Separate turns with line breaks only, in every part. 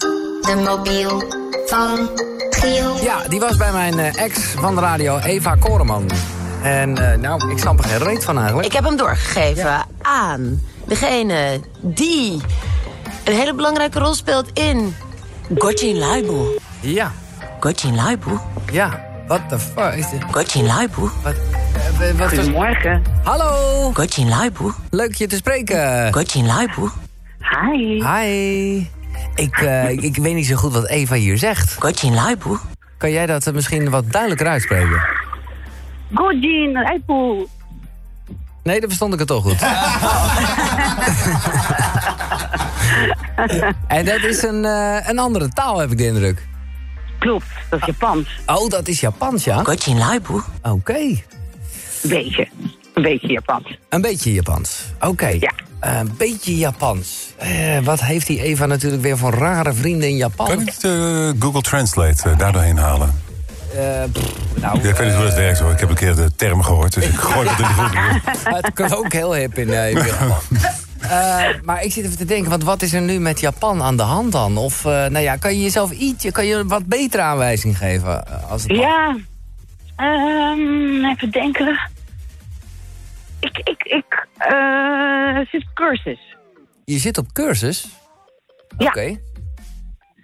de mobiel van Giel.
Ja, die was bij mijn eh, ex van de radio, Eva Koreman. En eh, nou, ik snap er geen reet van eigenlijk.
Ik heb hem doorgegeven
Ja.
aan degene die een hele belangrijke rol speelt in Gotjin Laibo.
Ja,
Gotjin Laibo.
ja. What the fuck is dit?
Gotjin Laibo.
Wat, eh, wat was-
Goedemorgen.
Hallo!
Gotjin Laibo.
Leuk je te spreken.
Gotjin Laibo.
Hi.
Hi. Ik, eh, ik weet niet zo goed wat Eva hier zegt.
Gotjin Laibo.
Kan jij dat eh, misschien wat duidelijker uitspreken?
Gojin, Apple.
Nee, dan verstond ik het toch goed. en dat is een, eh, een andere taal, heb ik de indruk.
Klopt, dat is Japans.
Oh, dat is Japans, ja? Oké.
Gotjin Laibo.
Een beetje. Een beetje Japans.
Een beetje Japans. Oké. Eh,
Ja.
Een beetje Japans. Eh, wat heeft die Eva natuurlijk weer voor rare vrienden in Japan?
Kan ik niet, eh, Google Translate eh, daar doorheen halen?
Eh, pff, nou,
Ja, ik weet niet hoe dat werkt hoor. Ik heb een keer de term gehoord, dus ik gooi het in de groep.
Het kan ook heel hip in, eh, in Japan. Eh, maar ik zit even te denken, want wat is er nu met Japan aan de hand dan? Of eh, nou ja, kan je jezelf ietsje, kan je wat betere aanwijzing geven? eh, Als het kan?
Ja. Ehm, even denken. Ik, ik, ik eh, zit op cursus.
Je zit op cursus?
Ja.
Oké.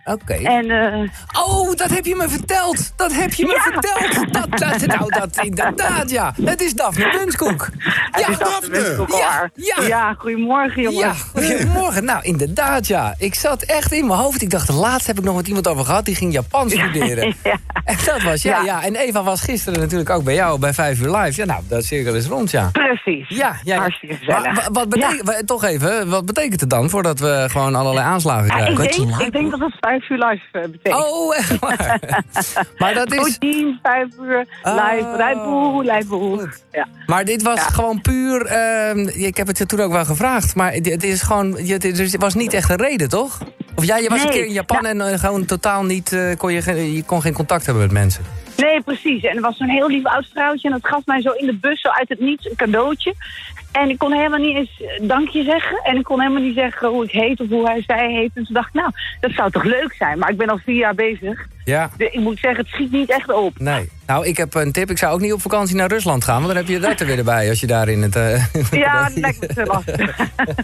Oké.
En eh,
Oh, dat heb je me verteld! Dat heb je me verteld! Dat, dat, nou, dat inderdaad, ja. Het is Daphne Dunskoek.
het
Ja,
is dus dat
Daphne.
best ook al
Ja,
waar.
ja.
ja, goedemorgen
Ja,
jongens.
goedemorgen. Nou, inderdaad, ja. Ik zat echt in mijn hoofd. Ik dacht, laatst heb ik nog met iemand over gehad. Die ging Japans studeren.
Ja.
En dat was, ja, ja,
Ja.
En Eva was gisteren natuurlijk ook bij jou bij 5 uur live. Ja, nou, dat cirkel is rond, ja.
Precies.
Ja, ja, ja.
Hartstikke gezellig.
Maar wa- wat betekent, wa- toch even, wat betekent het dan voordat we gewoon allerlei aanslagen
Ja,
krijgen?
ik,
Gotjin
denk,
Laibo.
ik denk dat het vijf uur live eh, betekent.
Oh, echt waar. maar dat is...
Gojin, vijf uur, live,
Oh.
lijboe, lijboe.
Goed.
Ja.
Maar dit was gewoon puur... ehm, ik heb het je toen ook wel gevraagd, maar het, het is gewoon... je- het- Er was niet echt een reden, toch? Of jij je was een
Nee.
keer in Japan en eh, gewoon totaal niet... eh, kon je, geen- je kon geen contact hebben met mensen.
Nee, precies. En er was zo'n heel lief oud vrouwtje en dat gaf mij zo in de bus, zo uit het niets, een cadeautje. En ik kon helemaal niet eens eh, dankje zeggen. En ik kon helemaal niet zeggen hoe ik heet of hoe hij zij heet. En toen dacht ik, nou, dat zou toch leuk zijn. Maar ik ben al vier jaar bezig.
Ja.
Dus ik moet zeggen, het schiet niet echt op.
Nee. Nou, ik heb een tip. Ik zou ook niet op vakantie naar Rusland gaan, want dan heb je dat er weer bij als je daar in het... eh,
Ja, dat lijkt me te lastig.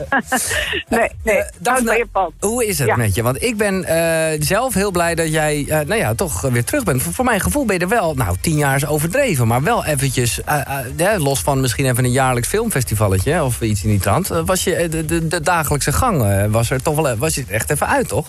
nee, nee.
Eh,
Dat bij
Daphne,
Japan.
hoe is het
Ja.
met je? Want ik ben eh, zelf heel blij dat jij eh, nou ja, toch weer terug bent. Voor, voor mijn gevoel ben je er wel, nou, tien jaar is overdreven... maar wel eventjes, eh, eh, hè, los van misschien even een jaarlijks filmfestivalletje... hè, of iets in die trant, eh, was je eh, de, de, de dagelijkse gang... eh, was, er toch wel, was je er echt even uit, toch?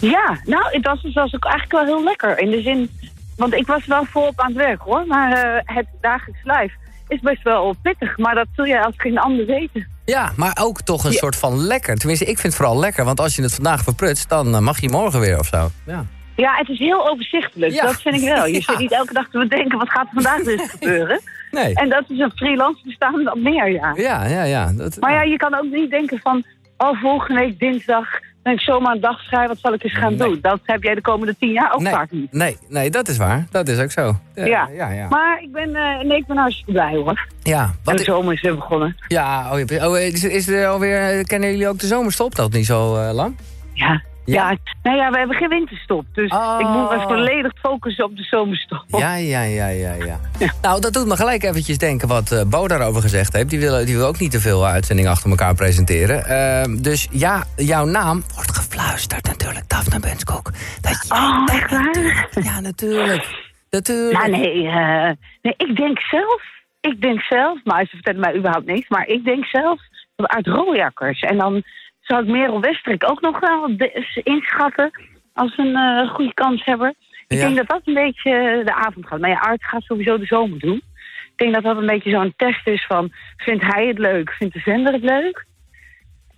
Ja, nou, het was, het was ook eigenlijk wel heel lekker. In de zin, want ik was wel volop aan het werk hoor. Maar eh, het dagelijks live is best wel pittig. Maar dat zul jij als geen ander weten.
Ja, maar ook toch een soort van lekker. Tenminste, ik vind het vooral lekker, want als je het vandaag verprutst... dan eh, mag je morgen weer of zo. Ja.
Ja, het is heel overzichtelijk.
Ja.
Dat vind ik wel. Je
Ja.
zit niet elke dag te bedenken, wat gaat er vandaag dus gebeuren?
Nee.
En dat is een freelance bestaan wat meer, ja.
Ja, ja, ja. Dat,
Maar ja, je kan ook niet denken van... Oh, volgende week dinsdag ben ik zomaar een dag vrij. Wat zal ik eens gaan
Nee.
doen? Dat heb jij de komende tien jaar ook
nee,
vaak niet.
nee, nee, dat is waar. Dat is ook zo.
Ja.
ja, ja.
Maar ik ben, eh, nee, ik ben hartstikke blij hoor.
ja.
En
Wat,
de zomer is weer begonnen.
Ja, oh, je hebt- oh, is, is er alweer, eh, kennen jullie ook de zomerstop? Dat niet zo eh, lang?
Ja.
Ja?
Ja. nou ja, we hebben geen winterstop. Dus
Oh.
ik moet me volledig focussen op de zomerstop.
Ja, ja, ja, ja, ja. Nou, dat doet me gelijk eventjes denken wat eh, Bo daarover gezegd heeft. Die wil, die wil ook niet te veel uitzendingen achter elkaar presenteren. Ehm, dus ja, jouw naam wordt gefluisterd natuurlijk, Daphne Benskoek. Dat jij
Oh, echt waar?
natuurlijk- Ja, natuurlijk. Natuurlijk.
Maar nee, eh, nee, ik denk zelf. Ik denk zelf, maar ze vertellen mij überhaupt niks. Maar ik denk zelf dat uit roljakkers. En dan zou ik Merel Westerik ook nog wel de- inschatten als een eh, goede kanshebber. Ik
Ja.
denk dat dat een beetje eh, de avond gaat. Maar ja, Aard gaat sowieso de zomer doen. Ik denk dat dat een beetje zo'n test is van... vindt hij het leuk, vindt de zender het leuk?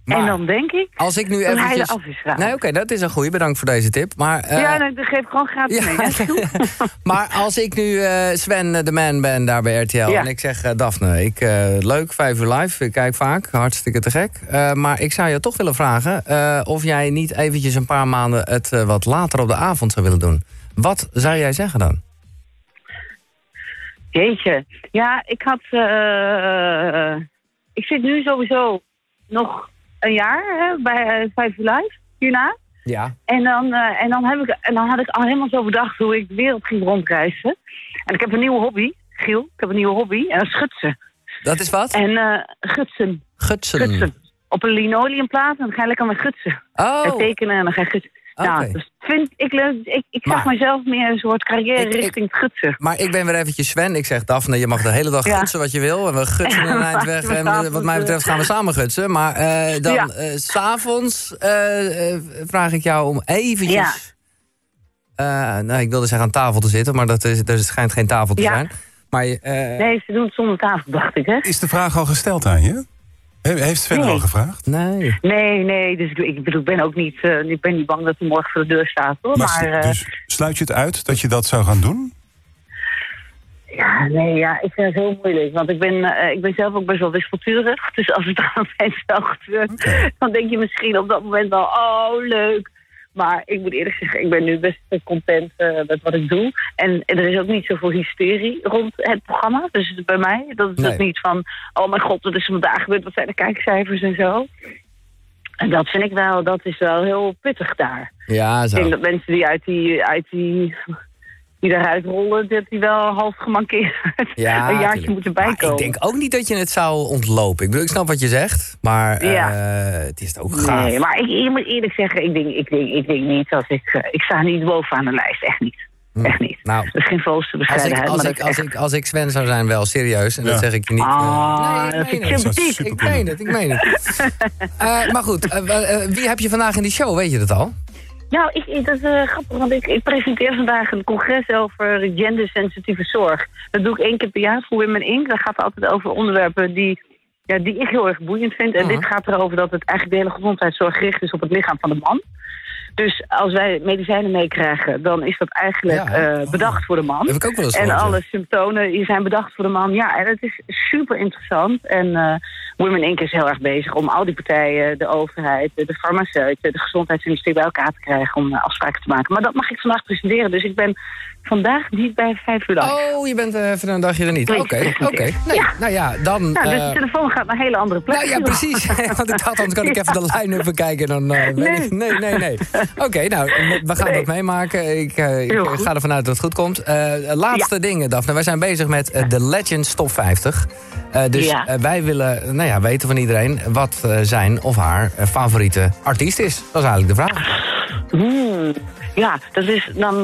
Maar
en dan denk ik...
Als ik nu
dat hij
eventjes...
eraf is geraakt.
Nee, oké, dat is een goeie. Bedankt voor deze tip. Maar, eh,
ja, nee, dat geef ik gewoon gratis mee. hè.
maar als ik nu eh, Sven eh, de man ben daar bij RTL
Ja.
en ik zeg eh, Daphne, ik, eh, leuk, vijf uur live, ik kijk vaak, hartstikke te gek. Eh, maar ik zou je toch willen vragen eh, of jij niet eventjes een paar maanden het eh, wat later op de avond zou willen doen. Wat zou jij zeggen dan?
Jeetje. Ja, ik had... eh, ik zit nu sowieso nog een jaar hè, bij eh, Vijf uur Live, hierna.
Ja.
En dan, eh, en, dan heb ik, en dan had ik al helemaal zo bedacht hoe ik de wereld ging rondreizen. En ik heb een nieuwe hobby, Giel. Ik heb een nieuwe hobby, en dat is gutsen.
Dat is wat?
En eh, gutsen,
Gutsen.
gutsen. Op een linoleumplaat en dan ga je lekker met gutsen. En
Oh,
tekenen en dan ga je gutsen.
Oké.
Nou, dus vind ik, leuk. ik, ik zag
Maar-
mezelf meer een soort carrière
Ik- ik-
richting het gutsen.
maar ik ben weer eventjes Sven. Ik zeg, Daphne, je mag de hele dag
Ja.
gutsen wat je wil. En we gutsen in Eindweg.
we
En we-
s'avonds,
wat mij
eh,
betreft gaan we samen gutsen. Maar eh, dan,
Ja.
eh, s s'avonds eh, eh, vraag ik jou om eventjes...
Ja.
Eh, nou, ik wilde zeggen aan tafel te zitten, maar dat is, er schijnt geen tafel te
Ja.
zijn. Maar je, eh,
Nee, ze doen het zonder tafel, dacht ik, hè?
Is de vraag al gesteld aan je? He- Heeft Sven
Nee.
al gevraagd?
nee.
Nee, nee, dus ik, ik bedoel, ik ben ook niet, eh, ik ben niet bang dat hij morgen voor de deur staat, hoor. Maar,
Maar, s-
eh,
dus sluit je het uit dat je dat zou gaan doen?
ja, nee, ja, ik vind het heel moeilijk, want ik ben, eh, ik ben zelf ook best wel wispelturig. Dus als het dan opeens wel gebeurt,
Oké.
dan denk je misschien op dat moment wel, oh, leuk. Maar ik moet eerlijk zeggen, ik ben nu best content eh, met wat ik doe. En, en er is ook niet zoveel hysterie rond het programma. Dus bij mij, dat is
Nee.
het niet van... oh mijn god, wat is er vandaag gebeurd? Wat zijn de kijkcijfers en zo? En dat vind ik wel, dat is wel heel pittig daar.
Ja,
Ik denk
zo.
dat mensen die uit die, uit die, die daaruit rollen, dat die wel half gemankeerd
Ja,
een jaartje
tuurlijk.
moeten
Maar
bijkomen.
ik denk ook niet dat je het zou ontlopen. Ik bedoel, ik snap wat je zegt, maar eh,
Ja.
het is ook gaaf.
Nee, maar ik, ik moet eerlijk zeggen, ik denk, ik denk, ik denk niet dat ik... eh, ik sta niet bovenaan de lijst, echt niet. Echt niet.
Nou,
dat is geen volste
Als ik,
bescheidenheid,
als,
maar
ik,
dat is
als,
echt-
ik, als ik Sven zou zijn, wel serieus. En dat
Ja.
zeg ik je niet. eh,
Ah,
nee,
dat
ik
vind ik
meen het.
sympathiek.
Ik meen het, ik meen het. Eh, maar goed, eh, eh, eh, wie heb je vandaag in die show? Weet je dat al?
Nou, ik, ik- dat is eh, grappig, want ik, ik presenteer vandaag een congres over gendersensitieve zorg. Dat doe ik één keer per jaar voor Women Inc. Dat gaat altijd over onderwerpen die, ja, die ik heel erg boeiend vind. En
Mhm.
dit gaat erover dat het eigenlijk de hele gezondheidszorg gericht is op het lichaam van de man. Dus als wij medicijnen meekrijgen, dan is dat eigenlijk
Ja, hè?
eh, bedacht voor de man.
Heb ik ook wel eens
En
gehoord, ja.
alle symptomen die zijn bedacht voor de man. Ja, en het is super interessant. En eh, Women Inc. is heel erg bezig om al die partijen, de overheid, de farmaceuten, de gezondheidsindustrie bij elkaar te krijgen om eh, afspraken te maken. Maar dat mag ik vandaag presenteren. Dus ik ben vandaag niet bij vijf uur lang.
Oh, je bent eh, even een dagje er niet. Oké,
Nee,
oké.
presenteer.
Nee,
Ja.
Nou ja, dan...
nou, dus
eh,
de telefoon gaat naar een hele andere plek.
nou ja, precies. Want ik dacht, anders kan ik even de lijn even kijken. Dan, eh, weet
Nee.
ik- nee, nee, nee. Oké, nou, we- we gaan
Nee.
dat meemaken. Ik, eh, ik
Heel
eh,
goed.
ga ervan uit dat het goed komt. Eh, laatste dingen, Daphne. Wij zijn bezig met eh, de Legends Top 50. Eh, dus
Ja.
eh, wij willen eh, nou ja, weten van iedereen wat eh, zijn of haar eh, favoriete artiest is. Dat is eigenlijk de vraag.
Hmm. Ja, dat is dan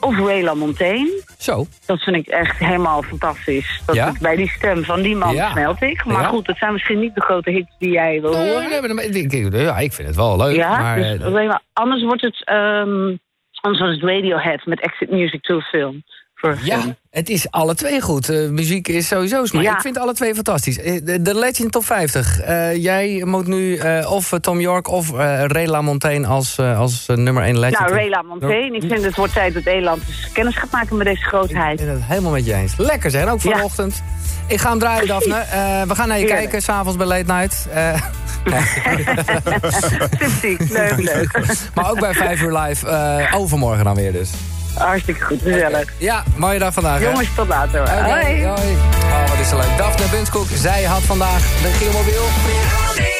of Wayla Montaigne.
Zo.
Dat vind ik echt helemaal fantastisch. Dat
Ja?
het bij die stem van die man
Ja.
smelt ik. Maar
Ja.
goed, dat zijn misschien niet de grote hits die jij wil horen.
Nee, nee, maar- ik- ik- ja, ik vind het wel leuk.
Ja,
maar,
dus,
eh,
alleen maar anders wordt het, ehm, anders wordt het Radiohead met Exit Music to Film. Voor film.
Ja, het is alle twee goed. Eh, muziek is sowieso smaak.
Ja.
Ik vind alle twee fantastisch. Eh, De, de Legend Top 50. Eh, jij moet nu eh, of eh, Tom York of eh Rela Montaigne als, eh, als eh, nummer 1 Legend.
Nou, Rayla Montaigne, ik vind het wordt tijd dat Nederland dus kennis gaat maken met deze
Nou, Ik
grootheid.
ben het helemaal met je eens. Lekker zijn, ook
Ja.
vanochtend. Ik ga hem draaien, Daphne. Eh, we gaan naar je
Heerlijk.
kijken, s'avonds bij Late Night. Eh,
Sympathiek, leuk, leuk.
maar ook bij 5 uur live. eh, overmorgen dan weer dus.
Hartstikke goed, gezellig.
Ja, Ah, mooie dag vandaag. hè?
Jongens, tot later. hoor.
Oké,
Hoi.
hoi. Oh, wat is er leuk. Daphne Bunskoek, zij had vandaag de Gielmobiel.
Alweer.